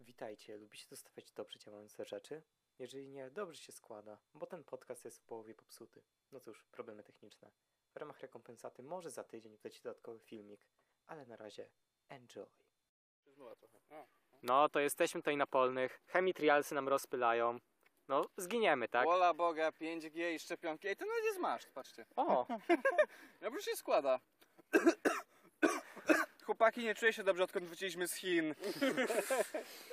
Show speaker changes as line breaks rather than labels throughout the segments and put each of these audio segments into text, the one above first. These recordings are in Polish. Witajcie, lubicie dostawać dobrze działające rzeczy? Jeżeli nie, dobrze się składa, bo ten podcast jest w połowie popsuty. No cóż, problemy techniczne. W ramach rekompensaty może za tydzień wleci dodatkowy filmik, ale na razie enjoy.
Zmyła trochę. A.
No, to jesteśmy tutaj na polnych, chemitrialsy nam rozpylają. No, zginiemy, tak?
Wola Boga, 5G i szczepionki. Ej, to nawet jest maszt, patrzcie.
O,
Ja już się składa. Chłopaki, nie czuję się dobrze, odkąd wróciliśmy z Chin.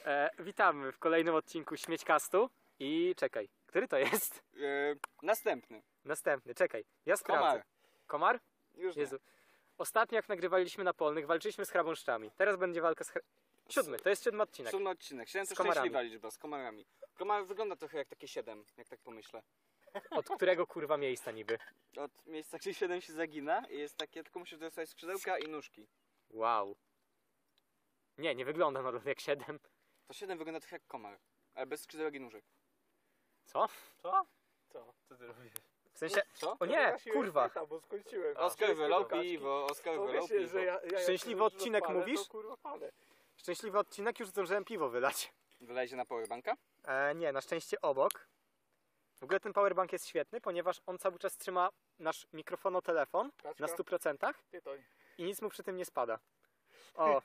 e, witamy w kolejnym odcinku Śmiećkastu i czekaj, który to jest?
Yy, następny.
Następny, czekaj, ja sprawdzę.
Komar.
Komar?
Już
Jezu. Ostatnio jak nagrywaliśmy na polnych, walczyliśmy z chrabąszczami. Teraz będzie walka z chra... Siódmy, to jest siódmy
nie.
odcinek.
Siódmy odcinek. Siedem to
Z komarami.
szczęśliwa liczba, z komarami. Komar wygląda trochę jak takie siedem, jak tak pomyślę.
Od którego kurwa miejsca niby?
Od miejsca, gdzie siedem się zagina i jest takie, tylko musisz dostać skrzydełka i nóżki.
Wow. Nie, nie wygląda nadal jak siedem.
To siedem wygląda trochę jak komar, ale bez skrzydełek i nóżek.
Co? Co?
Co? Co ty robisz?
W sensie...
Co?
O No nie,
Wygasiłeś
kurwa.
Pecha, bo skończyłem.
Oskar wylał
Wszystkie
piwo, Oskar
Mówię
wylał
się,
piwo.
że ja- ja jak
Szczęśliwy
już
odcinek
rozpalę,
mówisz?
To, kurwa, palę.
Szczęśliwy odcinek, już zdążyłem piwo wylać.
Wylejcie na powerbanka?
E, nie, na szczęście obok. W ogóle ten powerbank jest świetny, ponieważ on cały czas trzyma nasz mikrofonotelefon
Kaczka.
na 100%
Tytoń.
i nic mu przy tym nie spada. O,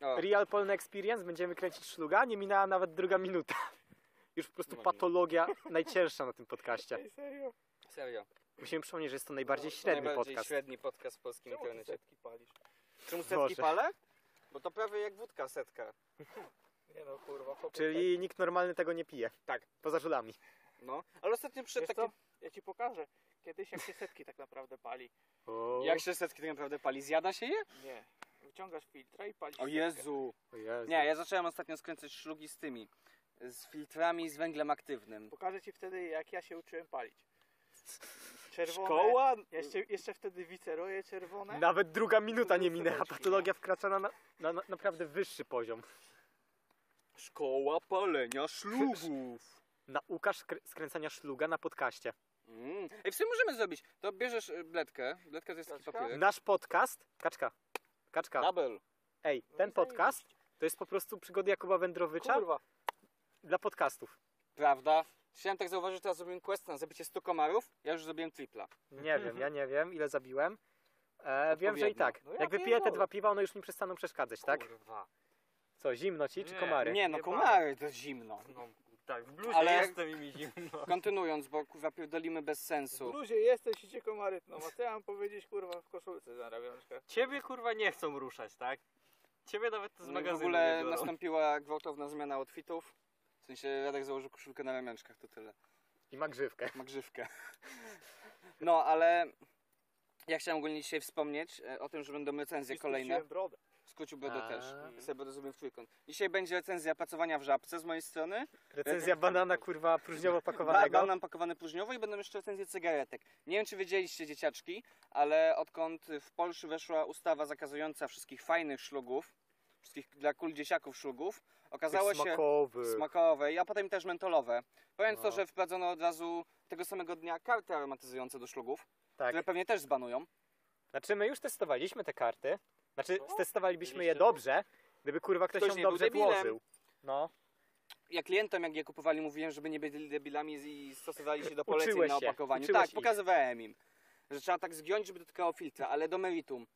O,
Real Polny Experience, będziemy kręcić szluga, nie minęła nawet druga minuta. Już po prostu
Ładnie.
patologia najcięższa na tym podcaście.
Ej, serio?
serio.
Musimy przypomnieć, że jest to najbardziej średni
najbardziej
podcast.
średni podcast w polskim
Czemu ty
internecie.
setki palisz?
Czemu
Boże.
setki palę? Bo to prawie jak wódka setka.
Nie no, kurwa. chłopie,
Czyli nikt normalny tego nie pije.
Tak.
Poza żulami.
No, ale ostatnio
tak.
przyszedł
Wiesz
taki...
co? Ja ci pokażę. Kiedyś jak się setki tak naprawdę pali.
Jak się setki tak naprawdę pali? Zjada się je?
Nie. Wyciągasz filtra i palisz
O
setkę.
Jezu!
O Jezu.
Nie, ja zacząłem ostatnio skręcać szlugi z tymi. Z filtrami z węglem aktywnym.
Pokażę ci wtedy, jak ja się uczyłem palić. Czerwone.
Szkoła?
Jeszcze, jeszcze wtedy wiceroje czerwone.
Nawet druga minuta nie minęła.
Serdeczki,
Patologia wkracza na, na, na naprawdę wyższy poziom.
Szkoła palenia szlugów!
Nauka szkr- skręcania szluga na podcaście.
Mm. Ej, w sumie możemy zrobić. To bierzesz y, bledkę. Bledka to jest taki
Kaczka?
papierek.
Nasz podcast... Kaczka. Kaczka.
Double.
Ej, ten podcast to jest po prostu przygody Jakuba Wędrowycza
Kurwa.
dla podcastów.
Prawda? Chciałem tak zauważyć, że teraz zrobiłem quest na zabicie 100 komarów. Ja już zrobiłem tripla.
Nie wiem, ja nie wiem, ile zabiłem. E, wiem, że i tak.
No ja
Jak wypiję te
pierdolę.
dwa piwa, one już mi przestaną przeszkadzać, tak?
Kurwa.
Co, zimno ci czy
Nie,
komary?
Nie no,
Jebane.
komary to zimno.
Tak, w bluzie.
Ale
Jestem i mi zimno.
kontynuując, bo kurwa pierdolimy bez
W
sensu.
bluzie jesteś i cię komary. No, a co ja mam powiedzieć, kurwa, w koszulce zarabiaczka.
Ciebie kurwa nie chcą ruszać, tak? Ciebie nawet to z
No i W
magazynu
ogóle
nie biorą.
nastąpiła gwałtowna zmiana outfitów. W sensie Radek założył koszulkę na ramionczkach, to tyle.
I ma grzywkę.
Ma grzywkę. No, ale ja chciałem ogólnie dzisiaj wspomnieć e, o tym, że będą recenzje
I
kolejne.
spuściłem brodę.
Skrócił brodę
A.
też. Ja Sobie rozumiem w trójkąt. Dzisiaj będzie recenzja pracowania w żabce z mojej strony.
Recenzja banana, kurwa, próżniowo
Ba-
pakowanego.
Banan pakowany próżniowo i będą jeszcze recenzje cygaretek. Nie wiem, czy wiedzieliście, dzieciaczki, ale odkąd w Polsce weszła ustawa zakazująca wszystkich fajnych szlugów, wszystkich dla kul dzieciaków szlugów, okazało
Tych
się...
smakowy.
smakowe, a potem też mentolowe. Powiem
No.
to, że wprowadzono od razu tego samego dnia karty aromatyzujące do szlugów, które
Tak.
pewnie też zbanują.
Znaczy, my już testowaliśmy te karty. Znaczy,
No,
stestowalibyśmy je
byliście-
dobrze, gdyby kurwa ktoś,
Ktoś
ją
nie był
dobrze
debilem.
włożył. No,
Ja klientom, jak je kupowali, mówiłem, żeby nie byli debilami i stosowali się do poleceń
Uczyłeś
na
się,
opakowaniu.
uczyłeś
tak,
ich.
pokazywałem im, że trzeba tak zgiąć, żeby dotykało filtra, ale do meritum.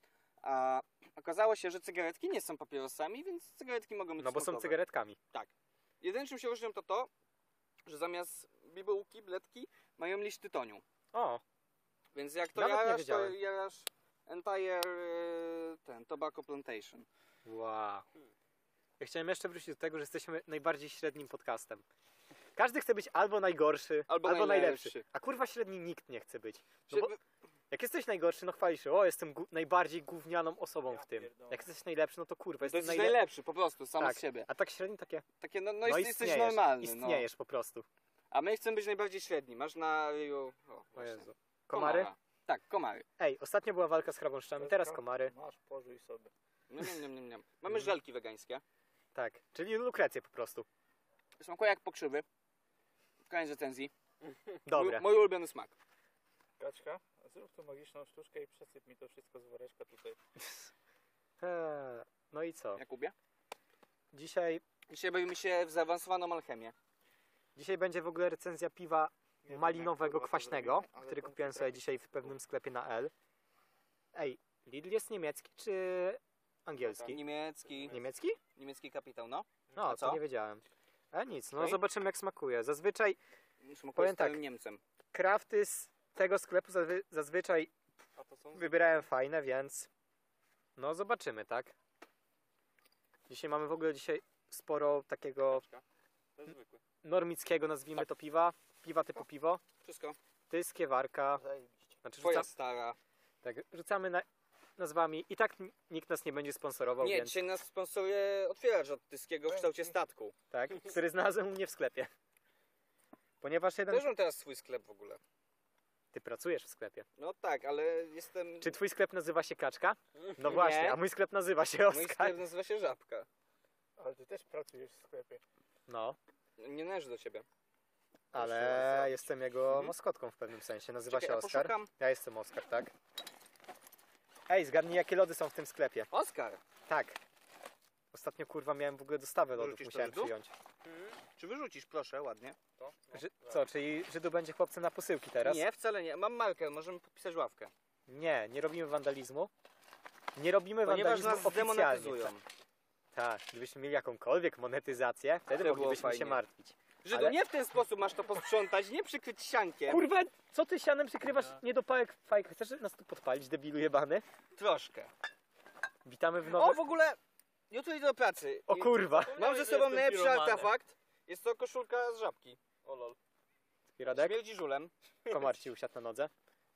A okazało się, że cygaretki nie są papierosami, więc cygaretki mogą być
no bo są
smakowe.
cygaretkami.
Jedyne, czym się różnią, to to, że zamiast bibułki, bledki, mają liść tytoniu.
O,
Więc jak to
Nawet nie
jarasz, to
wiedziałem.
jarasz entire e, ten, tobacco
No
plantation.
wow. Ja chciałem jeszcze wrócić do tego, że jesteśmy najbardziej średnim podcastem. Każdy chce być albo najgorszy, albo,
Albo
najlepszy.
najlepszy.
A kurwa średni nikt nie chce być. No
Czy-
bo jak jesteś najgorszy, no chwalisz się, o jestem gó- najbardziej gównianą osobą
Ja
w tym.
pierdolę.
Jak jesteś najlepszy, no to kurwa,
to
jestem
jesteś
najlepszy.
najlepszy po prostu, sam
Tak.
z siebie.
A tak średni takie,
Takie, no, no,
no,
jest-
istniejesz,
jesteś normalny.
istniejesz po prostu.
No. A my chcemy być najbardziej średni. Masz na ryju... O,
O
właśnie.
Jezu. Komary?
Komara. Tak, komary.
Ej, ostatnio była walka z chrabąszczami, teraz komary.
Masz, pożyj sobie.
Niam, niam, niam, niam.
Mhm.
Mamy żelki wegańskie.
Tak, czyli lukrecję po prostu.
Smakuje jak pokrzywy. W koniec recenzji.
Dobre.
Mój, mój ulubiony smak.
Kaczka, zrób tu magiczną sztuczkę i przesyp mi to wszystko z woreczka tutaj.
Eee, No i co?
Jakubie?
Dzisiaj
Dzisiaj bawimy się w zaawansowaną alchemię.
Dzisiaj będzie w ogóle recenzja piwa
Nie wiem, jak,
malinowego,
kurwa, to
kwaśnego,
zrobimy, ale
który
to
kupiłem sobie dzisiaj w pewnym sklepie na L. Ej, Lidl jest niemiecki czy
Tak,
angielski?
Niemiecki,
Niemiecki?
niemiecki kapitał, no.
No,
A
to
co?
nie wiedziałem. A nic, no
Okej.
zobaczymy jak smakuje. Zazwyczaj
Smakuje
tak.
stałym Niemcem.
krafty z tego sklepu zazwy- zazwyczaj
A to są
wybierałem fajne, więc no zobaczymy, tak? Dzisiaj mamy w ogóle dzisiaj sporo takiego
te zwykłe.
normickiego, nazwijmy to piwa. Piwa typu piwo.
Wszystko.
Ty skiewarka.
Zajebiście.
Znaczy,
Twoja
rzuca,
stara.
tak, rzucamy na, nazwami i tak n- nikt nas nie będzie sponsorował,
Nie,
więc
dzisiaj nas sponsoruje otwieracz od Tyskiego w kształcie statku.
tak, który znalazłem u mnie w sklepie. Ponieważ jeden...
Też mam teraz swój sklep w ogóle.
Ty pracujesz w sklepie.
No tak, ale jestem...
Czy twój sklep nazywa się Kaczka? No
Nie.
właśnie, a mój sklep nazywa się
Mój
Oskar.
sklep nazywa się Żabka.
Ale ty też pracujesz w sklepie.
No,
Nie należy do ciebie.
ale jestem jego maskotką w pewnym sensie. Nazywa
Mhm. Czekaj,
się
ja
Oskar.
poszukam.
Ja jestem Oskar, tak? Ej, zgadnij jakie lody są w tym sklepie.
Oskar,
Tak. Ostatnio kurwa miałem w ogóle dostawę lodów,
Wrzucisz to
musiałem
Żydu?
przyjąć.
Hmm? czy wyrzucisz proszę ładnie?
To?
Ży- co, czyli Żydu będzie chłopcem na posyłki teraz?
Nie, wcale nie. Mam markę, możemy podpisać ławkę.
Nie, nie robimy wandalizmu. Nie robimy
Ponieważ nas
wandalizmu oficjalnie.
zdemonetyzują.
Tak, gdybyśmy mieli jakąkolwiek monetyzację, wtedy
było
moglibyśmy się
fajnie.
martwić.
Żydu,
Ale-
nie w ten sposób masz to posprzątać, nie przykryć siankiem.
Kurwa, co ty sianem przykrywasz
No.
niedopałek fajk? Chcesz nas tu podpalić, debilu jebany?
Troszkę.
Witamy w
O,
nowym...
w ogóle, jutro idę do pracy.
No tak. O
I-
kurwa!
Mam ze sobą najlepszy artefakt. Jest to koszulka z żabki.
O lol.
Radek,
Śmierdzi żulem.
komar ci usiadł na nodze.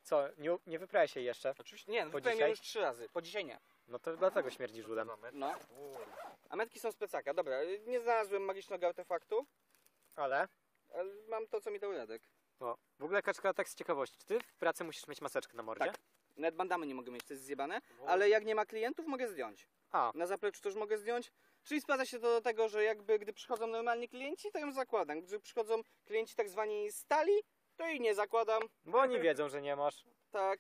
Co, nie, nie wypraj się jeszcze?
Oczywiście nie, no
Po
wypiłem
dzisiaj?
ją już trzy razy. Po dzisiaj nie.
No to dlatego śmierdzi żulem.
No. A metki są z plecaka. Dobra, nie znalazłem magicznego artefaktu,
Ale...
ale mam to, co mi dał Radek.
O, w ogóle Kaczka, tak z ciekawości, czy ty w pracy musisz mieć maseczkę na mordzie?
Tak. Nawet bandamy nie mogę mieć, to jest zjebane. Ale jak nie ma klientów, mogę zdjąć.
A,
Na zapleczu też mogę zdjąć. Czyli sprowadza się to do tego, że jakby gdy przychodzą normalni klienci, to ją zakładam. Gdy przychodzą klienci tak zwani stali, to i nie zakładam.
bo oni wiedzą, że nie masz.
Tak.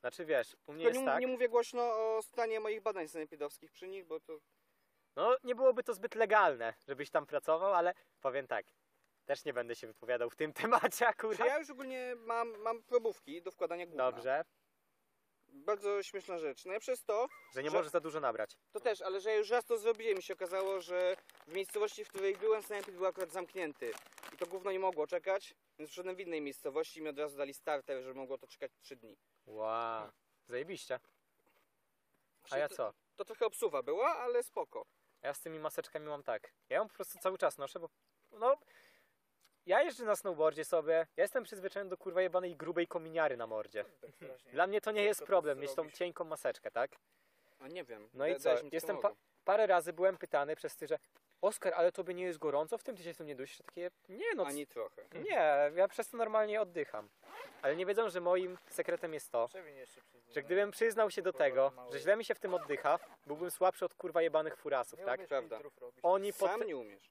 Znaczy wiesz, u mnie
Tylko
jest
nie,
tak...
nie mówię głośno o stanie moich badań sanepidowskich przy nich, bo to
No, nie byłoby to zbyt legalne, żebyś tam pracował, ale powiem tak. Też nie będę się wypowiadał w tym temacie
Czy
akurat.
ja już ogólnie mam, mam probówki do wkładania gówna.
Tak. Dobrze,
Bardzo śmieszna rzecz. No i przez to,
że nie
Że-
możesz za dużo nabrać.
to też, ale że ja już raz to zrobiłem i się okazało, że w miejscowości, w której byłem, sanepid był akurat zamknięty. I to gówno nie mogło czekać, więc przyszedłem w innej miejscowości i mi od razu dali starter, że mogło to czekać 3 dni.
Wow, zajebiście. A
Przecież
ja
to-
co?
To trochę obsuwa była, ale spoko.
Ja z tymi maseczkami mam tak. Ja ją po prostu cały czas noszę, bo no... Ja jeżdżę na snowboardzie sobie, ja jestem przyzwyczajony do kurwa jebanej grubej kominiary na mordzie.
Tak strasznie.
No.
Dla mnie to nie
Jak
jest
to
problem mieć tą
zrobisz?
cienką maseczkę, tak?
A nie wiem.
No i
da-
co?
dałeś mi tylko
Jestem
mogę.
pa- Parę razy byłem pytany przez ty, że Oskar, ale tobie nie jest gorąco w tym, ty się w tym nie dusisz? Ja Takie, nie no,
Ani trochę.
Nie, ja przez to normalnie oddycham. Ale nie wiedzą, że moim sekretem jest to,
Przewin jeszcze przez
że gdybym przyznał się do tego, że źle mi się w tym oddycha, byłbym słabszy od kurwa jebanych furasów,
Nie
tak?
umiesz
Prawda.
filtrów robić.
Oni, pot-
Sam nie umiesz.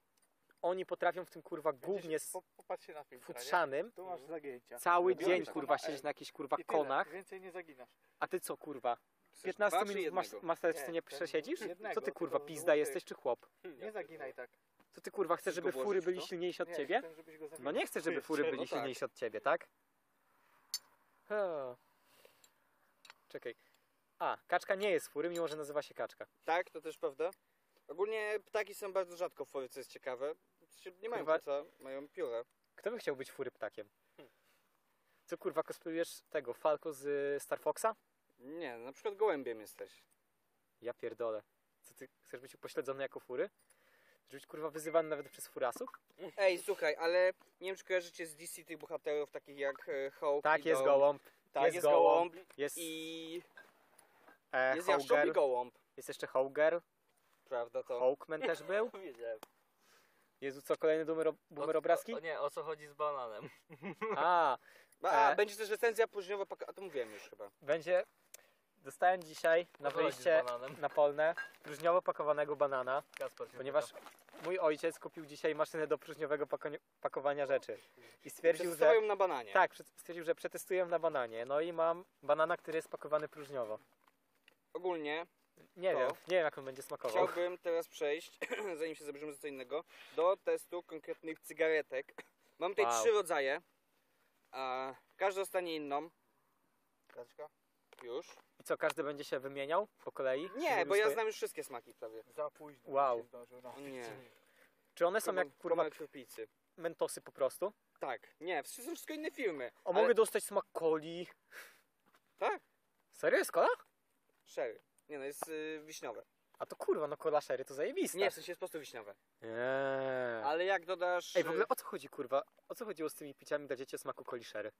oni potrafią w tym kurwa głównie
Widzisz,
z Mm.
po- Popatrzcie na filtra, nie?
futrzanym
Tu masz zagięcia.
cały
Robiłem
dzień
tak.
kurwa siedzieć na jakichś kurwa
I tyle.
konach,
Więcej nie zaginasz.
a ty co kurwa?
Chcesz dwa
15
czy
minut masz,
jednego?
maseczce
Nie,
nie
to nie-
przesiedzisz?
jednego,
Co ty kurwa
tylko
pizda
złotych.
jesteś czy chłop?
Nie zaginaj tak.
Co ty kurwa chcesz,
Chcesz
żeby
go włożyć
fury
w
byli
to?
silniejsi od
Nie,
ciebie?
chcę, żebyś go
No
zawinął.
nie chcę, żeby fury
No
byli
tak.
silniejsi od ciebie, tak? Ha. Czekaj. A, kaczka nie jest fury, mimo że nazywa się kaczka.
Tak, to też prawda. Ogólnie ptaki są bardzo rzadko w folii, co jest ciekawe. Nie mają
Kurwa.
pieca, mają pióra.
Kto by chciał być fury ptakiem?
Hmm.
Co kurwa, cosplayujesz tego Falco z y, Star Foxa?
Nie, na przykład gołębiem jesteś.
Ja pierdolę. Co ty chcesz być upośledzony jako fury? Chcesz być kurwa wyzywany nawet przez furasów?
Ej, słuchaj, ale nie wiem, czy kojarzycie z DC tych bohaterów takich jak e, Hulk
Tak,
i
jest
Dom.
gołąb.
Tak,
jest
jest, gołąb.
Jest,
I
e,
jest jaszczur i
Hauger.
gołąb.
Jest jeszcze Hauger.
Prawda to?
Hawkman też był.
Powiedziałem.
Jezu, co, kolejny boomer,
No
boomer obrazki?
O, o, nie, o co chodzi z bananem?
A,
A,
E.
będzie też recenzja późniowa, paka- a to mówiłem już chyba.
Będzie. Dostałem dzisiaj na
O co chodzi z
wyjście
bananem?
na polne próżniowo pakowanego banana,
Kasper się
ponieważ mój ojciec kupił dzisiaj maszynę do próżniowego pako- pakowania rzeczy. I stwierdził, że.
Przetestują na bananie.
Tak, przet- stwierdził, że przetestuję na bananie. No i mam banana, który jest pakowany próżniowo.
Ogólnie
Nie
To-
wiem, nie wiem jak on będzie smakował.
Chciałbym teraz przejść, zanim się zabierzemy za co innego, do testu konkretnych cygaretek. Mam tutaj
Wow.
trzy rodzaje. A każdy dostanie inną. Kaczka? Już?
I co, każdy będzie się wymieniał po kolei?
Nie,
Mówił
bo ja
swoje-
znam już wszystkie smaki prawie.
Za późno.
Wow.
się zdarzył, no.
Nie.
Czy one są jak kurwa
kurpicy.
mentosy po prostu?
Tak, nie, wszy- są wszystko inne filmy.
O, mogę dostać smak coli?
Tak.
Serio jest cola?
Sherry. Nie no, jest y, wiśniowe.
A to kurwa, no cola sherry to zajebiste.
Nie, w sensie jest po prostu wiśniowe.
Eee.
Ale jak dodasz...
Ej, w ogóle
y,
o co chodzi kurwa? O co chodziło z tymi piciami dla dzieci o smaku coli sherry?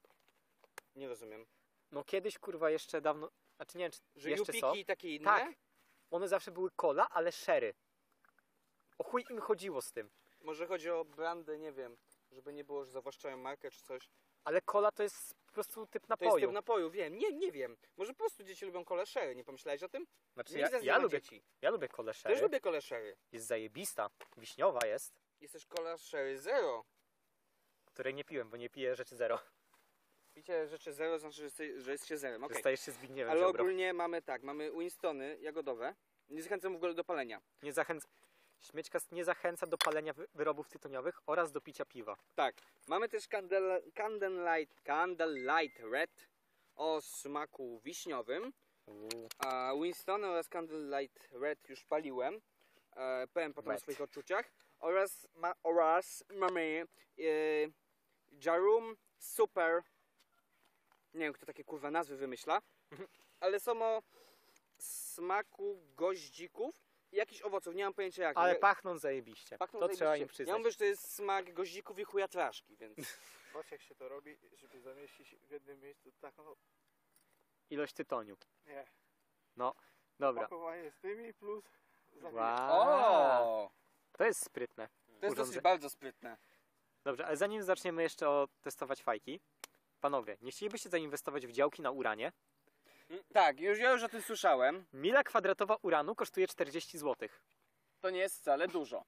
Nie rozumiem.
No kiedyś kurwa jeszcze dawno, znaczy nie wiem czy
Że
jeszcze
Jeszcze
są.
jupiki i takie inne?
Tak. One zawsze były cola, ale sherry. O chuj im chodziło z tym.
Może chodzi o brandy, nie wiem. Żeby nie było, że zawłaszczają markę czy coś.
Ale cola to jest po prostu typ
To
napoju.
jest typ napoju, wiem, nie, nie wiem. Może po prostu dzieci lubią kole sherry, nie pomyślałeś o tym?
Znaczy
Nie
ja,
widzę
ja,
zdjęć
lubię,
dzieci.
ja lubię kolę
Też
sherry.
lubię kole sherry.
Jest zajebista. Wiśniowa jest,
Jest też kola sherry zero.
której nie piłem, bo nie piję rzeczy zero.
Picie rzeczy zero znaczy, że, jesteś, że jest się zerem, okej.
Okay. Stajesz się Zbigniewem
Ale
Ziobrą.
ogólnie mamy tak, mamy Winstony jagodowe. Nie zachęcam w ogóle do palenia.
Nie zachęca... Śmieczkast nie zachęca do palenia wy- wyrobów tytoniowych oraz do picia piwa.
Tak, mamy też candle, candle, light, candle light red o smaku wiśniowym. A Winstona oraz Candlelight Red już paliłem. E, powiem potem o
Red.
swoich odczuciach. Oraz, ma, oraz mamy e, Jarum Super. Nie wiem, kto takie kurwa nazwy wymyśla. Ale są o smaku goździków i jakichś owoców. Nie mam pojęcia jak.
Ale
Ja-
pachną zajebiście.
Tak, pachną
to trzeba
zajebiście.
im
Ja
przyznać.
mówię, że to jest smak goździków i chujatraszki, więc
Patrz jak się to robi, żeby zamieścić w jednym miejscu taką
Ilość tytoniu.
Nie.
No, dobra.
pakowanie z tymi plus zamieścić.
Wow. To jest sprytne.
To jest
Urządzę-
dosyć bardzo sprytne.
Dobrze, ale zanim zaczniemy jeszcze o testować fajki, panowie, nie chcielibyście zainwestować w działki na uranie?
Tak, już ja już o tym słyszałem.
Mila kwadratowa uranu kosztuje 40 zł.
To nie jest wcale dużo.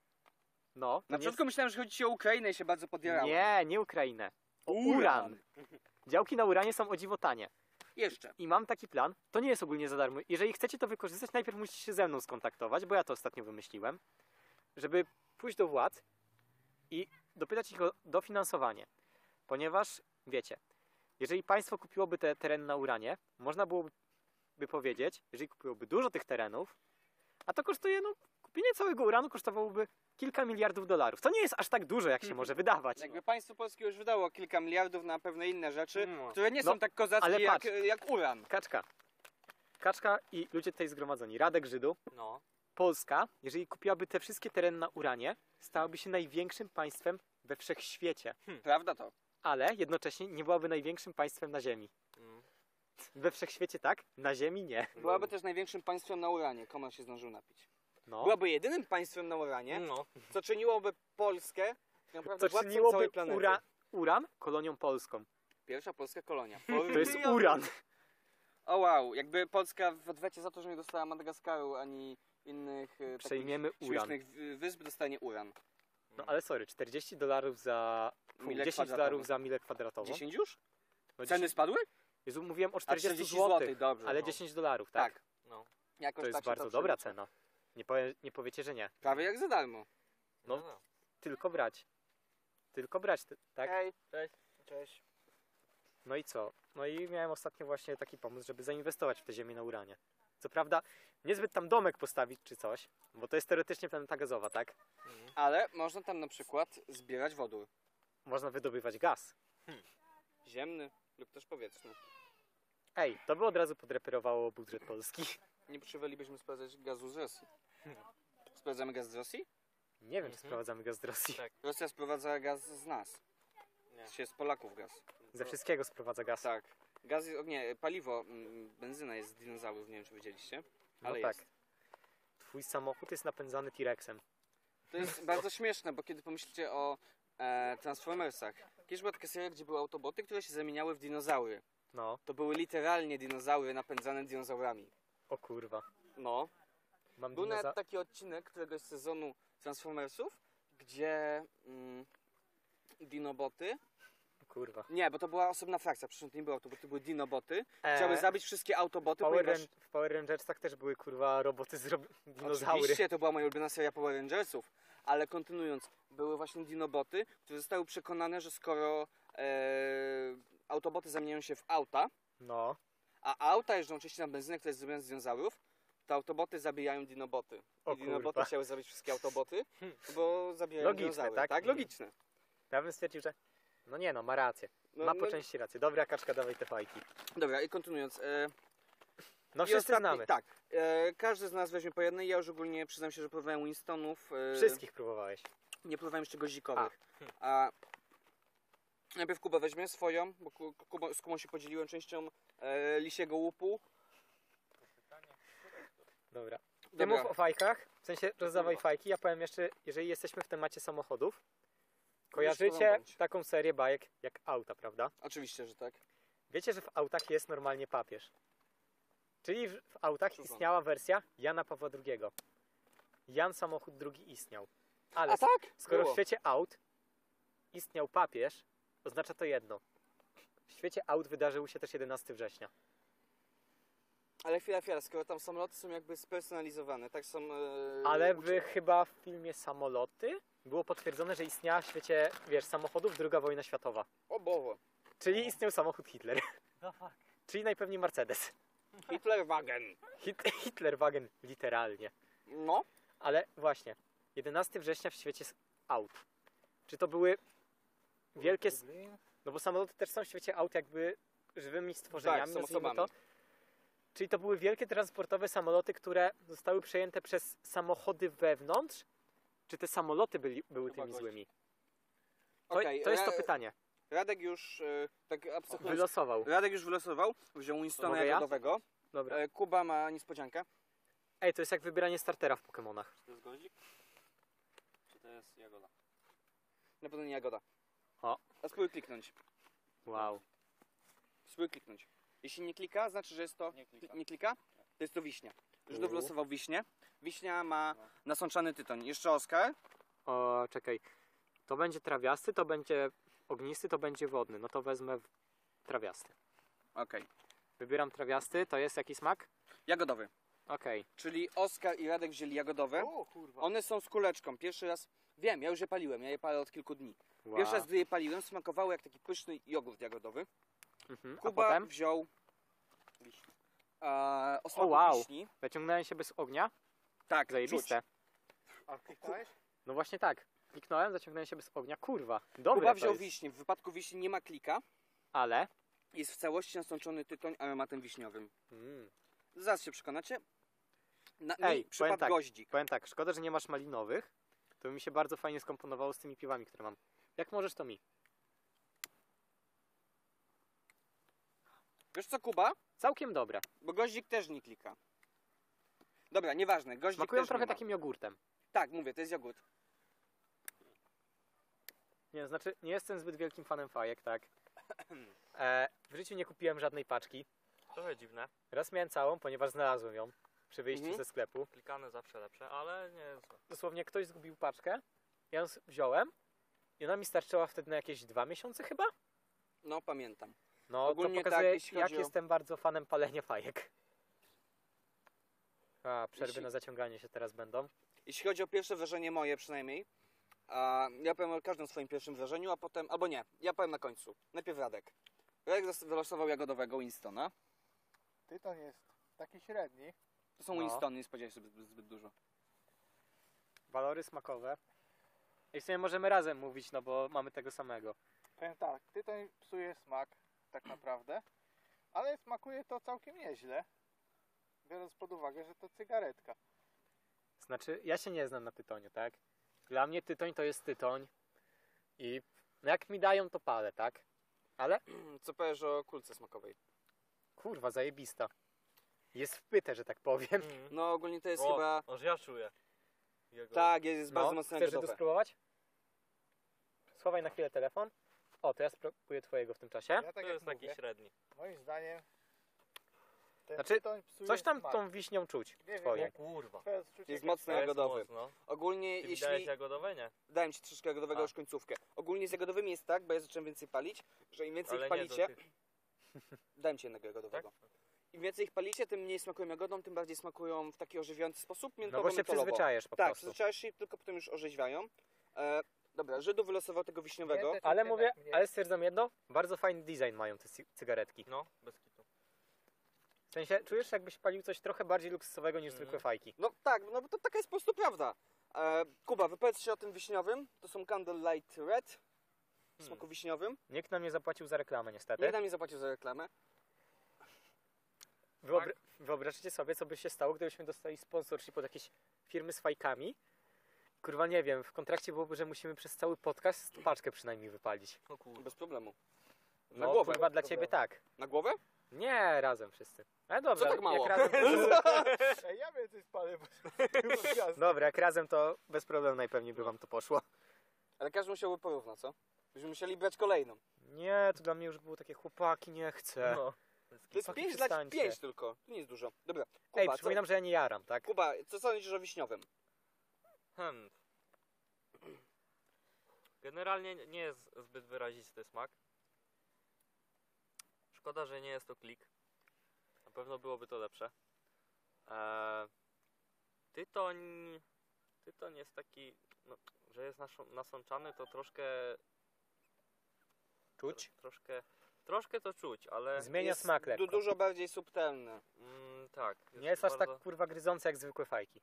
No, to
Na
nie
początku myślałem, że chodzi ci o Ukrainę i się bardzo podjarałem.
Nie, nie Ukrainę. O uran.
Uran.
Działki na uranie są o dziwo tanie.
Jeszcze.
I mam taki plan. To nie jest ogólnie za darmo. Jeżeli chcecie to wykorzystać, najpierw musicie się ze mną skontaktować, bo ja to ostatnio wymyśliłem, żeby pójść do władz i dopytać ich o dofinansowanie. Ponieważ, wiecie, jeżeli państwo kupiłoby te tereny na uranie, można byłoby powiedzieć, jeżeli kupiłoby dużo tych terenów, a to kosztuje, no, kupienie całego uranu kosztowałoby kilka miliardów dolarów. To nie jest aż tak dużo, jak się może wydawać.
Jakby państwo polskie już wydało kilka miliardów na pewne inne rzeczy,
No.
które nie
No,
są tak kozackie
ale
jak,
patrz.
jak uran.
Kaczka. Kaczka i ludzie tutaj zgromadzeni. Radek Żydu.
No.
Polska, jeżeli kupiłaby te wszystkie tereny na uranie, stałaby się największym państwem we wszechświecie,
Prawda to?
ale jednocześnie nie byłaby największym państwem na Ziemi.
Mm.
We wszechświecie tak, na Ziemi nie.
Byłaby też największym państwem na uranie. Komar się zdążył napić.
No.
Byłaby jedynym państwem na uranie,
No.
co czyniłoby Polskę tak naprawdę
To
władcą całej
czyniłoby
planety.
ura, uran kolonią polską.
Pierwsza polska kolonia.
To jest uran.
O wow, jakby Polska w odwecie za to, że nie dostała Madagaskaru ani innych e,
Przejmiemy
takich
uran.
śmiesznych w- wysp, dostanie uran.
No ale sorry, 40 dolarów za... Pół,
Milę
10
kwadratową.
dolarów za milę kwadratową.
10 już?
No,
Ceny
10,
spadły?
Jezu, mówiłem o
A
40
40
zł,
dobrze.
ale
no.
10 dolarów, tak?
Tak.
No.
Jakoś
To jest
tak się
bardzo
to
dobra
przelicza.
cena. Nie, powie, nie powiecie, że nie.
Prawie jak za darmo.
No. Tylko brać. Tylko brać, ty- tak?
Ej,
Cześć.
No i co? No i miałem ostatnio właśnie taki pomysł, żeby zainwestować w te ziemię na uranie. Co prawda, niezbyt tam domek postawić czy coś, bo to jest teoretycznie planeta gazowa, tak?
ale można tam na przykład zbierać wodór.
Można wydobywać gaz.
Ziemny lub też powietrzny.
Ej, to by od razu podreperowało budżet Polski.
Nie potrzebowalibyśmy sprawdzać gazu z Rosji. Sprawdzamy gaz z Rosji?
Nie wiem, czy
Mhm.
sprowadzamy gaz z Rosji.
Tak.
Rosja sprowadza gaz z nas.
Nie.
Nie. Z Polaków gaz.
Mm.
Ze wszystkiego sprowadza gaz.
no. Tak. Gaz, jest- o nie, paliwo, mm, benzyna jest z dinozaurów, nie wiem czy wiedzieliście.
no
ale
tak.
jest.
Twój samochód jest napędzany T-Rexem.
To jest bardzo śmieszne, bo kiedy pomyślicie o e, Transformersach. Kiedyś była taka seria, gdzie były autoboty, które się zamieniały w dinozaury.
No,
To były literalnie dinozaury napędzane dinozaurami.
o kurwa.
No.
Mam
Był
dinoza-
nawet taki odcinek któregoś sezonu Transformersów, gdzie mm, dinoboty
kurwa.
Nie, bo to była osobna frakcja, przecież to nie było to, bo to były dinoboty.
E,
Chciały zabić wszystkie
w
autoboty,
Power,
ponieważ... No,
Ran- w Power Rangersach też były kurwa roboty z rob- dinozaury.
Oczywiście to była moja ulubiona seria Power Rangersów, ale kontynuując, były właśnie dinoboty, które zostały przekonane, że skoro e, autoboty zamieniają się w auta,
No.
a auta jeżdżą oczywiście na benzynę, która jest zrobiona z dinozaurów, to autoboty zabijają dinoboty.
O
I dinoboty
kurwa. Hmm.
chciały zabić wszystkie autoboty, bo zabijają
Logiczne,
dinozaury.
tak?
tak? Logiczne.
Ja bym stwierdził, że no nie no, ma rację.
No,
ma
no,
po części rację. Dobra, kaczka, dawaj te fajki.
Dobra, i kontynuując. E,
No
i
wszyscy
ostatni-
znamy.
Tak. E, każdy z nas weźmie po jednej. Ja już ogólnie przyznam się, że próbowałem Winstonów. E,
Wszystkich próbowałeś.
Nie próbowałem jeszcze gozikowych. Hmm. A. Najpierw Kuba weźmie swoją, bo Ku- Kuba, z Kubą się podzieliłem częścią e, lisiego łupu.
Dobra. Ty
Dobra. No.
mów o fajkach, w sensie rozdawaj fajki. Ja powiem jeszcze, jeżeli jesteśmy w temacie samochodów, kojarzycie
porąbać.
taką serię bajek jak auta, prawda?
Oczywiście, że tak.
Wiecie, że w autach jest normalnie papież. Czyli w w autach
Słucham.
istniała wersja Jana Pawła II. Jan samochód II istniał. Ale
A tak?
skoro
Było.
w świecie aut istniał papież, oznacza to jedno. W świecie aut wydarzył się też 11 września.
Ale chwila, chwila, skoro tam samoloty są jakby spersonalizowane, tak są... E,
Ale
uczy-
by chyba w filmie Samoloty było potwierdzone, że istniała w świecie, wiesz, samochodów II wojna światowa.
O Boże. No.
Czyli istniał samochód Hitler.
The fuck?
Czyli najpewniej Mercedes.
Hitlerwagen.
Hit- Hitlerwagen, literalnie.
No.
Ale właśnie, 11 września w świecie s- aut. Czy to były wielkie. s- No bo samoloty też są w świecie aut, jakby żywymi stworzeniami.
Tak, są
nazwijmy
osobami.
To. Czyli to były wielkie transportowe samoloty, które zostały przejęte przez samochody wewnątrz? Czy te samoloty byli, były
Chyba
tymi
gość.
złymi? To,
Okej, e,
to jest to
Ra-
pytanie.
Radek już, e, tak abstrahując,
Wylosował.
Radek już wylosował, wziął Winstona
Mogę ja?
jagodowego.
Dobra.
E, Kuba ma niespodziankę.
Ej, to jest jak wybieranie startera w Pokemonach.
Czy to jest gozik? Czy to jest jagoda?
Na pewno nie jagoda.
O.
A spróbuj kliknąć.
Wow.
Spróbuj kliknąć. Jeśli nie klika, znaczy, że jest to...
Nie klika.
Kli- Nie klika? To jest to wiśnia. Już
Tu.
wylosował wiśnię. Wiśnia ma
No.
nasączany tytoń. Jeszcze Oskar.
O, czekaj. To będzie trawiasty, to będzie ognisty, to będzie wodny. No to wezmę w- trawiasty.
Okej.
Wybieram trawiasty, to jest jaki smak?
Jagodowy.
Okej.
Czyli Oskar i Radek wzięli jagodowe.
O kurwa.
One są z kuleczką. Pierwszy raz... Wiem, ja już je paliłem. Ja je palę od kilku dni.
Wow.
Pierwszy raz, gdy je paliłem, smakowały jak taki pyszny jogurt jagodowy.
Mhm. A
Kuba
potem
wziął... E, o smaku
wow.
wiśni.
wyciągnąłem się bez ognia.
Tak,
Zajebiste.
A klikałeś?
No właśnie tak. Kliknąłem, zaciągnąłem się bez ognia. Kurwa.
Czuć.
Dobre
Kuba
to
wziął
jest.
wiśnię. W wypadku wiśni nie ma klika.
Ale.
Jest w całości nasączony tytoń aromatem wiśniowym.
Mm.
Zaraz się przekonacie. Na,
Ej,
Ej, mi
powiem
przypadł
tak.
goździk.
Powiem tak, szkoda, że nie masz malinowych. To by mi się bardzo fajnie skomponowało z tymi piwami, które mam. Jak możesz, to mi.
Wiesz co, Kuba?
Całkiem dobre.
Bo goździk też nie klika. Dobra, nieważne, goździk
Smakują
też
trochę
nie ma.
takim jogurtem.
Tak, mówię, to jest jogurt.
Nie, znaczy nie jestem zbyt wielkim fanem fajek, tak. E, w życiu nie kupiłem żadnej paczki.
Trochę dziwne.
Raz miałem całą, ponieważ znalazłem ją przy wyjściu
Mhm.
ze sklepu.
Klikane zawsze lepsze, ale nie jest złe.
Dosłownie ktoś zgubił paczkę, ja ją s- wziąłem i ona mi starczyła wtedy na jakieś dwa miesiące chyba.
No, pamiętam.
No
Ogólnie
to
tak,
pokazuje,
jeśli
jak
chodzi o-
jestem bardzo fanem palenia fajek. A, przerwy
Jeśli-
na zaciąganie się teraz będą.
Jeśli chodzi o pierwsze wrażenie moje przynajmniej, a ja powiem o każdym swoim pierwszym wrażeniu, a potem... Albo nie, ja powiem na końcu. Najpierw Radek. Radek zas- wylosował jagodowego Winstona.
Tyton jest taki średni.
To są
No.
Winstony, nie spodziewałem się zbyt, zbyt dużo.
Walory smakowe. I w sumie możemy razem mówić, no bo mamy tego samego.
Powiem tak, tytoń psuje smak tak naprawdę, ale smakuje to całkiem nieźle, biorąc pod uwagę, że to cygaretka.
Znaczy, ja się nie znam na tytoniu, tak? Dla mnie tytoń to jest tytoń i no jak mi dają, to palę, tak? Ale
Hmm, Co powiesz o kulce smakowej?
kurwa, zajebista. Jest wpyte, że tak powiem.
Mm.
No, ogólnie to jest
O,
chyba...
Aż ja czuję. Jego.
Tak, jest, jest
No,
bardzo mocno
chcesz to
jagodowe.
spróbować? Schowaj na chwilę telefon. O, to ja spróbuję twojego w tym czasie.
Ja tak
To
jak
jest taki
mówię,
średni.
moim zdaniem Ten
Znaczy,
tytoń psuje
Coś tam
smak.
tą wiśnią czuć. No
Nie wiem,
Twoje.
O kurwa.
Twoje odczucie
Jest
jest
mocno
To jest
jagodowy.
mocno.
Ogólnie,
Ty
jeśli.
wydałeś jagodowe, nie?
Dałem ci troszkę jagodowego
A.
już końcówkę. Ogólnie z jagodowym jest tak, bo ja zacząłem więcej palić, że im więcej
Ale
ich
nie
palicie.
do tych.
Dałem ci jednego jagodowego.
Tak?
Im więcej ich palicie, tym mniej smakują jagodą, tym bardziej smakują w taki orzeźwiający sposób.
No bo się
miętowo-mentolowo.
przyzwyczajasz po
Tak,
prostu.
przyzwyczajasz się, tylko potem już orzeźwiają. E, dobra, Żydu wylosował tego wiśniowego.
Nie, te-
Ale
Jednak
mówię,
mniej.
ale stwierdzam jedno, bardzo fajny design mają te cy- cygaretki.
No, bez kitu.
W sensie, czujesz jakbyś palił coś trochę bardziej luksusowego niż
Mhm.
zwykłe fajki.
No tak, no bo to taka jest po prostu prawda. E, Kuba, wypowiedz się o tym wiśniowym. To są Candle Light Red w
Hmm.
smaku wiśniowym.
Nikt nam nie zapłacił za reklamę niestety.
Nie tak- nam nie zapłacił za reklamę.
Wyobra- Wyobraźcie sobie, co by się stało, gdybyśmy dostali sponsorship od jakiejś firmy z fajkami. Kurwa, nie wiem, w kontrakcie byłoby, że musimy przez cały podcast paczkę przynajmniej wypalić.
No kurwa.
Bez problemu. Na
No,
głowę.
kurwa, dla ciebie tak.
Na głowę?
Nie, razem wszyscy. Ale dobra,
Co tak mało?
jak razem,
Ej, ja więcej spalę, bo bo
dobra, jak razem to bez problemu najpewniej by wam to poszło.
Ale każdy musiałby porówna, co? Byśmy musieli brać kolejną.
Nie, to dla mnie już było takie chłopaki, nie chcę.
No.
To jest
Chłopaki,
5 dla
przestańcie.
5 tylko. To nie jest dużo. Dobra. Kuba,
Ej,
co-
przypominam, że ja nie jaram, tak?
Kuba, co sądzisz o wiśniowym?
Hmm. Generalnie nie jest zbyt wyrazisty smak. Szkoda, że nie jest to klik. Na pewno byłoby to lepsze. Eee, tytoń. Tytoń jest taki, no, że jest naszą- nasączany, to troszkę.
Czuć?
Troszkę, troszkę to czuć, ale.
Zmienia
Jest
smak lekko.
du- Dużo bardziej subtelny.
Mm, tak.
Nie jest aż tak
bardzo-
kurwa gryzące jak zwykłe fajki.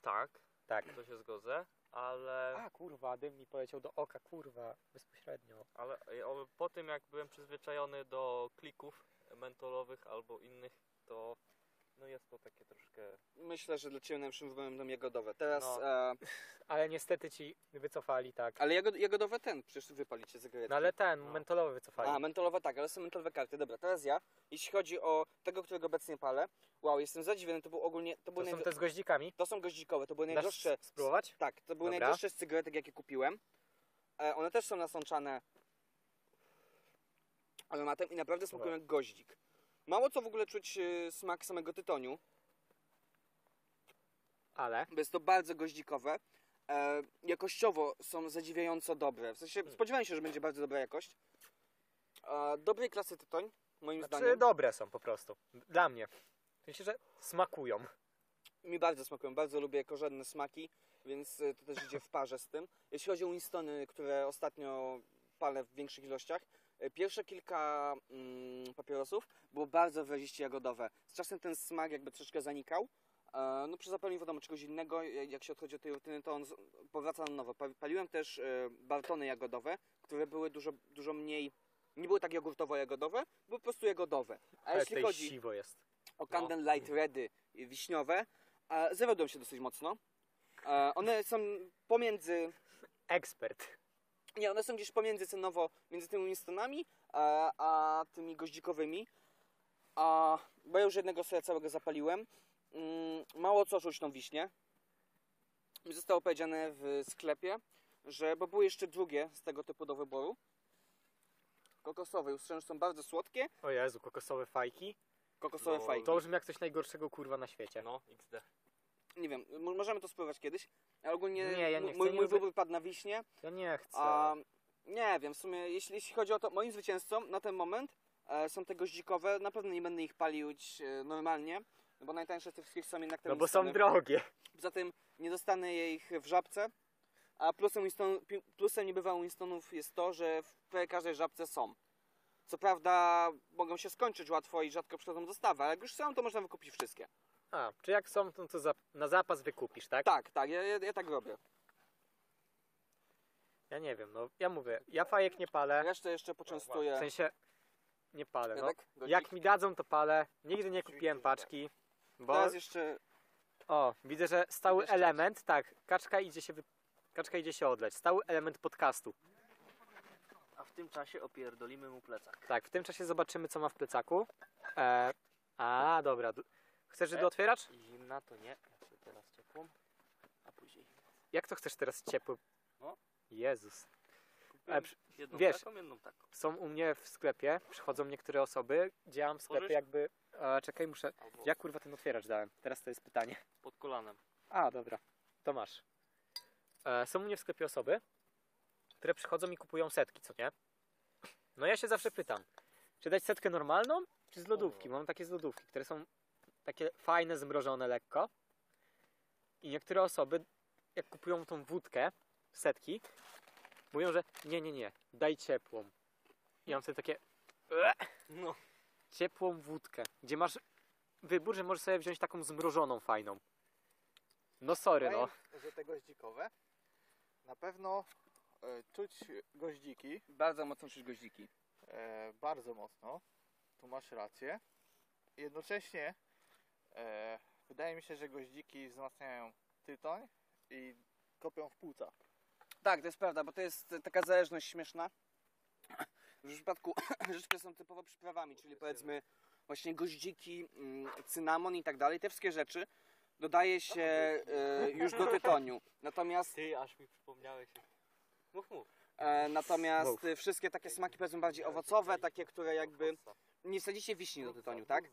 Tak,
Tak.
to się zgodzę,
E.
ale.
A kurwa, dym mi poleciał do oka, kurwa, bezpośrednio.
Ale e, o- po tym jak byłem przyzwyczajony do klików mentolowych albo innych, to no jest to takie troszkę.
Myślę, że dla ciebie najlepszym wyborem będą jagodowe. Teraz.
No.
E,
Ale niestety ci wycofali, tak.
ale jagod, jagodowe ten, przecież wypalicie zagadkę.
No ale ten,
No.
mentolowy wycofali.
A, mentolowa tak, ale są mentolowe karty. Dobra, teraz ja. Jeśli chodzi o tego, którego obecnie palę. Wow, jestem zadziwiony, to był ogólnie. To,
to
były
są
najwy-
te z goździkami.
to są goździkowe, to były
Dasz
najdroższe.
s- spróbować?
Tak, to były
Dobra.
najdroższe z cygaretek, jakie kupiłem. E, one też są nasączane aromatem i naprawdę smakują
Dobra.
jak goździk. Mało co w ogóle czuć e, smak samego tytoniu,
Ale.
bo jest to bardzo goździkowe. E, jakościowo są zadziwiająco dobre. W sensie spodziewałem się, że będzie bardzo dobra jakość. E, dobrej klasy tytoń, moim
Znaczy
zdaniem.
dobre są po prostu. Dla mnie. Myślę, że smakują.
Mi bardzo smakują, bardzo lubię korzenne smaki, więc e, to też idzie w parze z tym. Jeśli chodzi o Winstony, które ostatnio palę w większych ilościach, e, pierwsze kilka mm, papierosów było bardzo wyraziście jagodowe. Z czasem ten smak jakby troszeczkę zanikał. E, no przy zapaleniu wiadomo czegoś innego, e, jak się odchodzi od tej rutyny, to on z- powraca na nowo. Pa- Paliłem też e, bartony jagodowe, które były dużo, dużo mniej, nie były tak jogurtowo-jagodowe, były po prostu jagodowe. A
Ale
jeśli
tutaj
chodzi
siwo jest.
o Camden Light Redy i wiśniowe. E, zawiodłem się dosyć mocno. E, one są pomiędzy.
Ekspert.
Nie, one są gdzieś pomiędzy cenowo między tymi Winstonami a, a tymi goździkowymi. A, bo ja już jednego sobie całego zapaliłem. Mm, mało co czuć tą wiśnię. Mi Zostało powiedziane w sklepie, że bo były jeszcze drugie z tego typu do wyboru. Kokosowe, już słyszałem, że są bardzo słodkie.
O Jezu, kokosowe fajki.
Kokosowe
No,
fajki.
To brzmi jak coś najgorszego kurwa na świecie.
No, XD.
Nie wiem, mo- możemy to spływać kiedyś, ale ogólnie
Nie, ja nie
mój,
chcę,
mój
nie
mój
lubię-
wybór padł na wiśnie.
Ja nie chcę.
A, nie wiem, w sumie jeśli, jeśli chodzi o to, moim zwycięzcą na ten moment e, są te goździkowe, na pewno nie będę ich palił e, normalnie, no bo najtańsze z tych wszystkich są jednak te
No bo
Winstony.
są drogie.
Poza tym nie dostanę jej ich w żabce, a plusem, Winston, pi- plusem niebywałym Winstonów jest to, że w prawie każdej żabce są. Co prawda mogą się skończyć łatwo i rzadko przychodzą dostawy, ale jak już są, to można wykupić wszystkie.
A, czy jak są, to, to za, na zapas wykupisz, tak?
Tak, tak, ja, ja, ja tak robię.
Ja nie wiem, no ja mówię, ja fajek nie palę.
Resztę jeszcze poczęstuję.
W sensie nie palę. No.
Jadek, godzik.
Jak mi dadzą, to palę. Nigdy nie kupiłem paczki. Bo.
Teraz jeszcze
O, widzę, że stały
Jeszcze-
element, tak, kaczka idzie się wy... kaczka idzie się odleć. Stały element podcastu.
A w tym czasie opierdolimy mu plecak.
Tak, w tym czasie zobaczymy, co ma w plecaku. E... A, dobra. d- Chcesz, żeby
E?
otwieracz?
Zimna to nie, ja się teraz ciepłą, a później.
Jak to chcesz teraz ciepły?
No.
Jezus.
Kupiłem
przy-
jedną
wiesz-
taką, jedną taką.
Są u mnie w sklepie, przychodzą niektóre osoby, gdzie ja mam sklepy
Możesz?
jakby A, czekaj, muszę...
Albo
Ja kurwa ten otwieracz dałem. Teraz to jest pytanie.
pod kolanem.
A, dobra. Tomasz. E, są u mnie w sklepie osoby, które przychodzą i kupują setki, co nie? No ja się zawsze pytam, czy dać setkę normalną, czy z lodówki? Mam takie z lodówki, które są takie fajne, zmrożone lekko. I niektóre osoby, jak kupują tą wódkę, setki, mówią, że nie, nie, nie, daj ciepłą. I mam sobie takie "Ue,
No.
ciepłą wódkę, gdzie masz wybór, że możesz sobie wziąć taką zmrożoną fajną. No sorry, no.
Mają, że te goździkowe na pewno e, czuć goździki
Bardzo mocno czuć goździki.
e, bardzo mocno. Tu masz rację. Jednocześnie e, wydaje mi się, że goździki wzmacniają tytoń i kopią w płuca.
Tak, to jest prawda, bo to jest taka zależność śmieszna. W przypadku rzeczy, które są typowo przyprawami, czyli powiedzmy właśnie goździki, mm, cynamon i tak dalej, te wszystkie rzeczy dodaje się e, już do tytoniu. Natomiast
Ty, aż mi przypomniałeś. Mów, mów.
E, natomiast
Mów.
y, wszystkie takie smaki powiedzmy bardziej owocowe, takie, które jakby
No,
nie sadzicie wiśni do tytoniu, tak?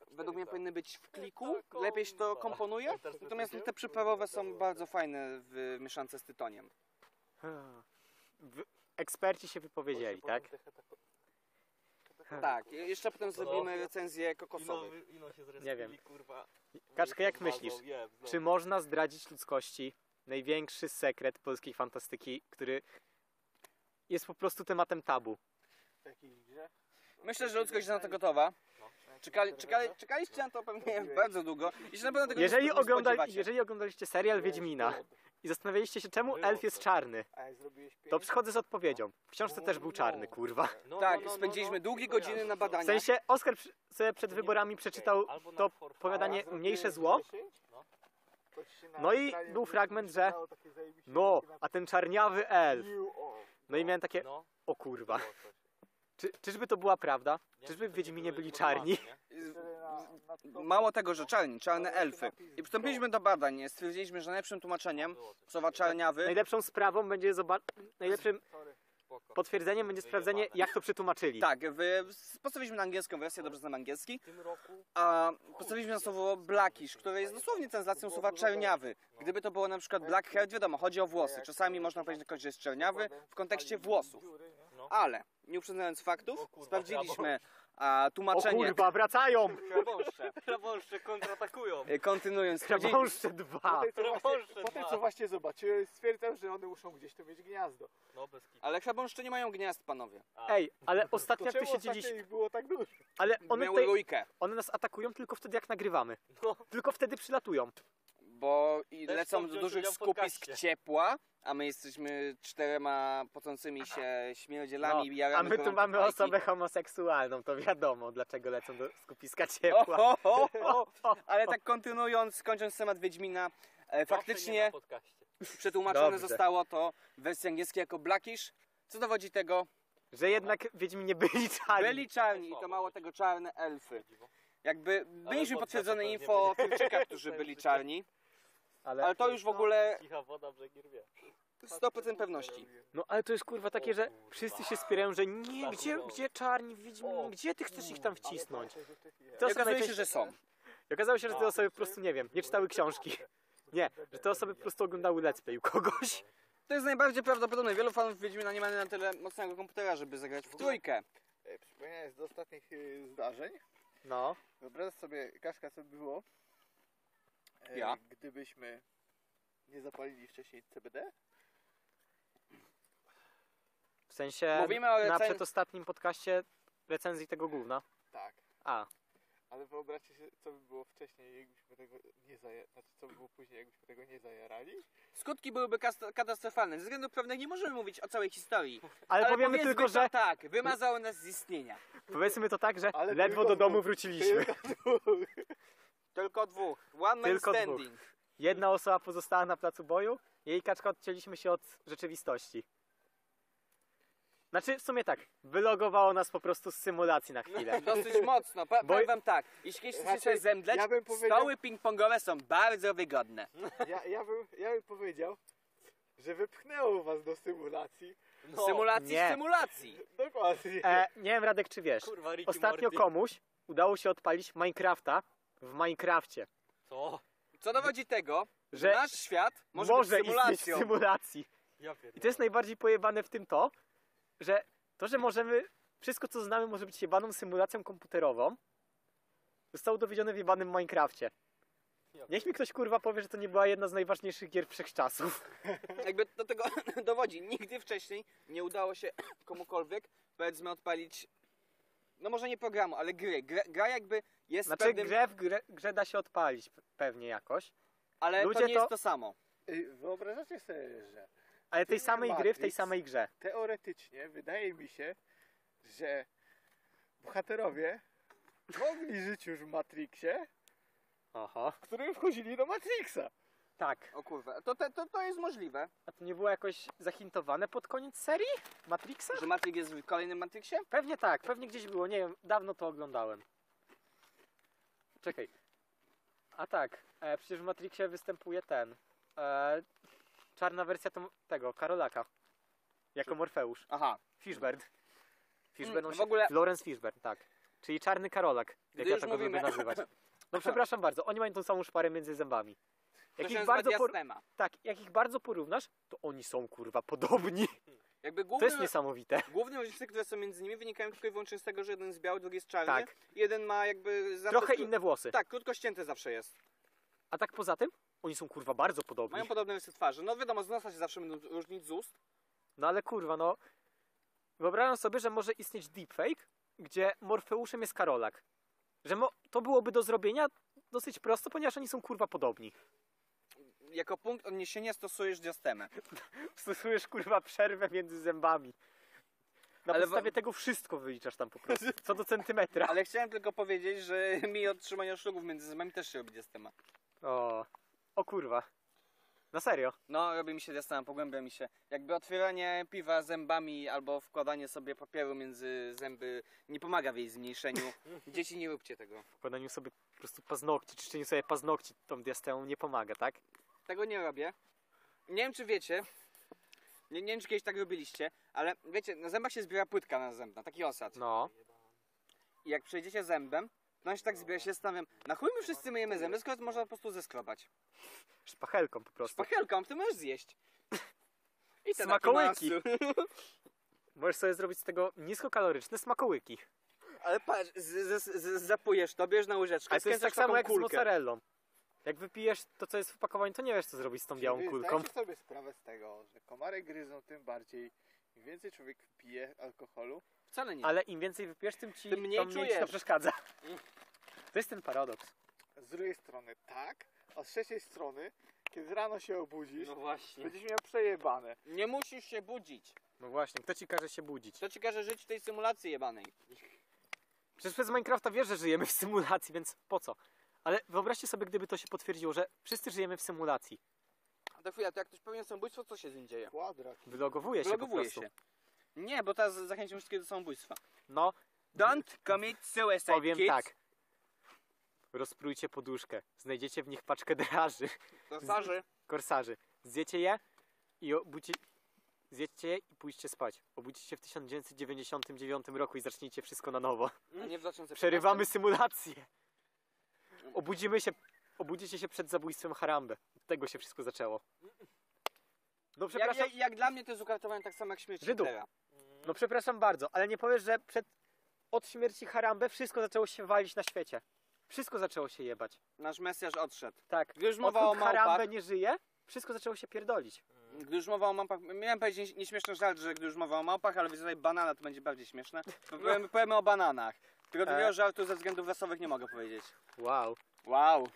Według
tak.
mnie powinny być w kliku, lepiej się to komponuje. Natomiast te przyprawowe są bardzo fajne w mieszance z tytoniem.
W- Eksperci się wypowiedzieli, tak?
Tak, je- jeszcze
No.
potem zrobimy recenzję kokosowych.
Ino, ino się
Nie
zrespili,
wiem.
kurwa.
Kaczka, jak
Zmazał,
myślisz?
wiem, znowu.
Czy można zdradzić ludzkości największy sekret polskiej fantastyki, który jest po prostu tematem tabu?
Takich grze.
Myślę, że ludzkość jest na to gotowa.
No.
Czekali, czekali, czekaliście na to pewnie bardzo długo i się na pewno tego
Jeżeli,
nie
ogląda,
spodziewacie.
jeżeli oglądaliście serial Wiedźmina i zastanawialiście się, czemu elf jest czarny,
A jak zrobiłeś
to
pięć,
przychodzę z odpowiedzią. W książce też był czarny, kurwa.
No,
Tak,
no, no, no,
spędziliśmy
no,
długie
kojarzę
godziny na
to.
W
badaniach.
sensie Oskar przy- sobie przed wyborami przeczytał
Albo na
to
for fun.
a jak
powiadanie
zrobiłeś
Mniejsze zło.
10,
No.
to ci się na
No i
ekranie
był fragment, że-
wyświetlało takie zajebiste
No,
takie
a ten czarniawy elf.
You all.
No i miałem takie,
No,
o kurwa.
było coś.
Czy, czyżby to była prawda?
Nie,
Czyżby
to nie
w Wiedźminie
były
byli
informacje,
czarni?
nie?
Wtedy na- No, na-
Mało tego, że czarni, czarne elfy. I przystąpiliśmy do badań, stwierdziliśmy, że najlepszym tłumaczeniem
Było tak? coś.
słowa czarniawy
Najlepszą sprawą będzie zoba- najlepszym
Sorry.
Spoko.
potwierdzeniem będzie sprawdzenie,
Wyjebane.
jak to przetłumaczyli.
Tak, w, postawiliśmy na angielską wersję, dobrze znam angielski,
W tym roku
a postawiliśmy na słowo blackish, które jest dosłownie translacją słowa czerniawy.
No.
Gdyby to było na przykład black hair, wiadomo, chodzi o włosy. Czasami można powiedzieć na kogoś, że jest czerniawy w kontekście włosów.
Dziury, nie?
No.
Ale, nie uprzedzając faktów, sprawdziliśmy a,
O
tłumaczenie
kurwa, wracają!
krabąszcze.
Krawąższe kontratakują.
Y, Kontynuując, sprawdzili-
Krabążce dwa!
Po tej, co
no.
Proszę
właśnie, po tej,
dwa.
co właśnie zobaczyłem, stwierdzam, że one muszą gdzieś tu mieć gniazdo.
No bez kitu.
ale krabąszcze nie mają gniazd, panowie.
A,
Ej, ale
To
ostatnio jak
czemu
tu siedzieliśmy,
ostatnio ich było tak dużo?
ale one,
Miały
tutaj,
rójkę,
one nas atakują tylko wtedy, jak nagrywamy.
No.
Tylko wtedy przylatują.
bo i
Też
lecą
są
do
wziąć
dużych
udział w
skupisk
podcaście.
ciepła, a my jesteśmy czterema pocącymi się śmierdzielami i
No, A
jaramy
my tu
gorące
mamy
bajki.
osobę homoseksualną, to wiadomo, dlaczego lecą do skupiska ciepła.
O, o, o, o. Ale tak kontynuując, kończąc temat Wiedźmina, e,
Zawsze nie na
faktycznie
podcaście.
przetłumaczone
Dobrze.
zostało to w wersji angielskiej jako blackish, co dowodzi tego,
Że jednak Wiedźmi nie byli czarni.
byli czarni i to mało tego czarne elfy. Jakby byliśmy
podcast
potwierdzone
to nie
info o
będzie.
Tymczykach, którzy byli czarni,
Ale...
ale to już w ogóle
Cicha woda brzegi rwie.
100% pewności.
No ale to jest kurwa takie,
O
że
kurwa.
wszyscy się spierają, że nie,
Tak,
gdzie,
udało.
gdzie czarni, Wiedźminie,
O
gdzie ty chcesz ich tam wcisnąć?
To
To
I
są
okazuje się,
najczęściej-
że są.
I okazało się, że te
A.
osoby po prostu, nie wiem, nie czytały książki. Nie, że te osoby po prostu oglądały let's play u kogoś.
To jest najbardziej prawdopodobne. Wielu fanów Wiedźmina nie ma na tyle mocnego komputera, żeby zagrać w trójkę.
Przypomniałem E, z ostatnich y, zdarzeń.
No.
Wyobraź sobie, Kaszka, co by było, e,
Ja?
gdybyśmy nie zapalili wcześniej CBD?
W sensie
Mówimy o
na
recen-
przedostatnim podcaście recenzji tego gówna.
Tak.
A,
Ale wyobraźcie sobie, co by było wcześniej, jakbyśmy tego nie zajarali. Znaczy, co by było później, jakbyśmy tego nie zajarali.
Skutki byłyby kas- katastrofalne. Ze względów prawnych nie możemy mówić o całej historii.
ale, powiemy
powiedzmy
tylko,
to
że
tak, wymazało nas z istnienia.
powiedzmy to tak, że
Ale
ledwo
tylko
do domu
dwóch.
wróciliśmy.
Tylko dwóch. One man
Tylko
standing.
Jedna osoba pozostała na placu boju, jej kaczka odcięliśmy się od rzeczywistości. Znaczy w sumie tak, wylogowało nas po prostu z symulacji na chwilę.
Dosyć mocno. Pa-
Bo-
powiem wam tak, jeśli chcecie
Raczej
coś zemdleć,
ja bym powiedział-
stoły ping-pongowe są bardzo wygodne.
Ja, ja, bym, ja bym powiedział, że wypchnęło was do symulacji.
Symulacji
No, nie.
z symulacji.
Dokładnie.
E, nie wiem Radek czy wiesz,
Kurwa, Ricky
ostatnio
Morty.
komuś udało się odpalić Minecrafta w Minecrafcie,
Co?
Co dowodzi tego, że
że
nasz świat może, być
istnieć
symulacją.
w symulacji.
Ja
I to jest najbardziej pojebane w tym to, że to, że możemy, wszystko co znamy może być jebaną symulacją komputerową, zostało dowiedzione w jebanym Minecrafcie. Niech mi ktoś kurwa powie, że to nie była jedna z najważniejszych gier wszechczasów.
Jakby do tego dowodzi. Nigdy wcześniej nie udało się komukolwiek, powiedzmy, odpalić, no może nie programu, ale gry. Gra, gra jakby jest
Znaczy
pewnym,
grę w grę, grze da się odpalić pe- pewnie jakoś,
ale to
ludzie
nie jest
to-
to samo.
Ej, Wyobrażacie sobie, że
ale tej
Filmie
samej gry w tej
Matrix.
samej grze.
teoretycznie wydaje mi się, że bohaterowie mogli żyć już w Matrixie,
Aha.
w którym wchodzili do Matrixa.
Tak.
O kurwa, to, te, to, to jest możliwe,
A to nie było jakoś zahintowane pod koniec serii? Matrixa?
że Matrix jest w kolejnym Matrixie?
Pewnie tak, pewnie gdzieś było, nie wiem, dawno to oglądałem. Czekaj. A tak, e, przecież w Matrixie występuje ten. E, czarna wersja tom, tego, Karolaka. Jako Morfeusz.
Aha.
Fishbird. Fishbird,
Mm,
on
w
się,
ogóle-
Lawrence Fishburne, tak. Czyli czarny Karolak, jak
Gdy
ja
już
tak go lubię
mówimy-
nazywać. No przepraszam bardzo, oni mają tą samą szparę między zębami. Jak
To
ich,
się
bardzo
bardzo
por...
jasnema.
tak, jak ich bardzo porównasz, to oni są kurwa podobni.
Jakby
To
główne,
jest niesamowite.
główne różnice, które są między nimi, wynikają tylko i wyłącznie z tego, że jeden jest biały, drugi jest czarny.
Tak,
Jeden ma jakby... za-
trochę inne włosy.
Tak, krótko ścięte zawsze jest.
A tak poza tym, oni są kurwa bardzo podobni.
Mają podobne rysy twarzy. No wiadomo, z nosa się zawsze będą różnić z ust.
No ale kurwa, no. Wyobrażam sobie, że może istnieć deepfake, gdzie Morfeuszem jest Karolak. Że mo- to byłoby do zrobienia dosyć prosto, ponieważ oni są kurwa podobni.
Jako punkt odniesienia stosujesz diastemę.
Stosujesz kurwa przerwę między zębami. Na
Ale
podstawie
wa-
tego wszystko wyliczasz tam po prostu. Co do centymetra.
Ale chciałem tylko powiedzieć, że mi od trzymania szlugów między zębami też się robi diastema.
O, o kurwa. Na serio.
No, robi mi się diastema, pogłębia mi się. Jakby otwieranie piwa zębami albo wkładanie sobie papieru między zęby nie pomaga w jej zmniejszeniu. Dzieci, nie róbcie tego.
Wkładaniu sobie po prostu paznokci, czyszczeniu sobie paznokci tą diastemą nie pomaga, tak?
Tego nie robię. Nie wiem, czy wiecie, nie, nie wiem, czy kiedyś tak robiliście, ale wiecie, na zębach się zbiera płytka na zębna, taki osad.
No.
I jak przejdziecie zębem, to on się tak zbiera, się zastanawiam, na chuj my wszyscy myjemy zęby, skoro to można po prostu zeskrobać.
Szpachelką po prostu.
Szpachelką, ty możesz zjeść. I te
Smakołyki.
takie masy.
Możesz sobie zrobić z tego niskokaloryczne smakołyki.
Ale patrz, z, z, z, zapujesz to, bierz na łyżeczkę,
Ale to jest
skręcasz
tak samo
taką
jak z
kulkę.
mozzarellą. Jak wypijesz to, co jest w opakowaniu, to nie wiesz, co zrobić z tą białą
Czy wy
kulką.
Zdajcie sobie sprawę z tego, że komary gryzą tym bardziej, im więcej człowiek pije alkoholu,
Wcale nie.
Ale im więcej wypijesz, tym ci
Tym mniej
to mniej ci to
czujesz.
przeszkadza. To jest ten paradoks.
z drugiej strony tak, a z trzeciej strony, kiedy rano się
No
obudzisz,
właśnie.
będziesz miał przejebane.
Nie musisz się budzić.
No właśnie, kto ci każe się budzić?
To ci każe żyć w tej symulacji jebanej.
Przecież przez Minecrafta wiesz, że żyjemy w symulacji, więc po co? Ale wyobraźcie sobie, gdyby to się potwierdziło, że wszyscy żyjemy w symulacji.
A to chwila, to jak ktoś popełnia samobójstwo, co się z nim dzieje?
Kwadrat.
Wylogowuje się po
Wylogowuje
prostu.
się. Nie, bo teraz zachęcimy wszystkie do samobójstwa.
No,
Don't commit suicide,
powiem
kids.
tak. Rozprójcie poduszkę. Znajdziecie w nich paczkę draży.
To znaczy, starzy.
korsarzy. Zjecie je i obudzi... Zjedzcie je i pójście spać. Obudzicie się w 1999 roku i zacznijcie wszystko na nowo.
a Nie w 2015.
Przerywamy symulację. Obudzimy się, obudzicie się przed zabójstwem Harambe. Od tego się wszystko zaczęło. No
Jak,
przepraszam,
jak, jak dla mnie to jest ukartowanie tak samo jak śmierć
Żydów.
Hitlera.
no przepraszam bardzo, ale nie powiesz, że przed... od śmierci Harambe wszystko zaczęło się walić na świecie. Wszystko zaczęło się jebać.
Nasz Mesjasz odszedł.
Tak.
Gdy już mowa o
Odkąd
małpach,
Harambe nie żyje, wszystko zaczęło się pierdolić.
gdy już mowa o małpach, miałem powiedzieć nie- nieśmieszny żart, że gdy już mowa o małpach, ale widzę tutaj banana, to będzie bardziej śmieszne. Bo powiemy, powiemy o bananach.
E.
Tego drugiego żartu ze względów rasowych nie mogę powiedzieć.
Wow.
Wow.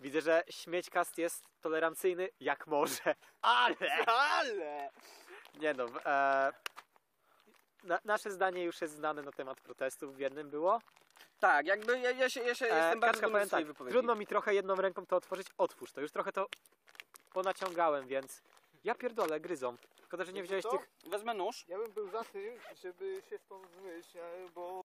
Widzę, że śmiećkast jest tolerancyjny jak może. Ale!
Ale!
Nie no, e, na, nasze zdanie już jest znane na temat protestów w jednym było.
Tak, jakby ja, ja się, ja się
E,
jestem bardzo
Kaczka,
dumny
powiem
z swojej
tak,
wypowiedzi.
trudno mi trochę jedną ręką to otworzyć, otwórz to. Już trochę to ponaciągałem, więc ja pierdolę, gryzą. Szkoda, że nie wziąłeś
to?
tych...
Wezmę nóż.
Ja bym był za tym, żeby się stąd zmyć, ale- bo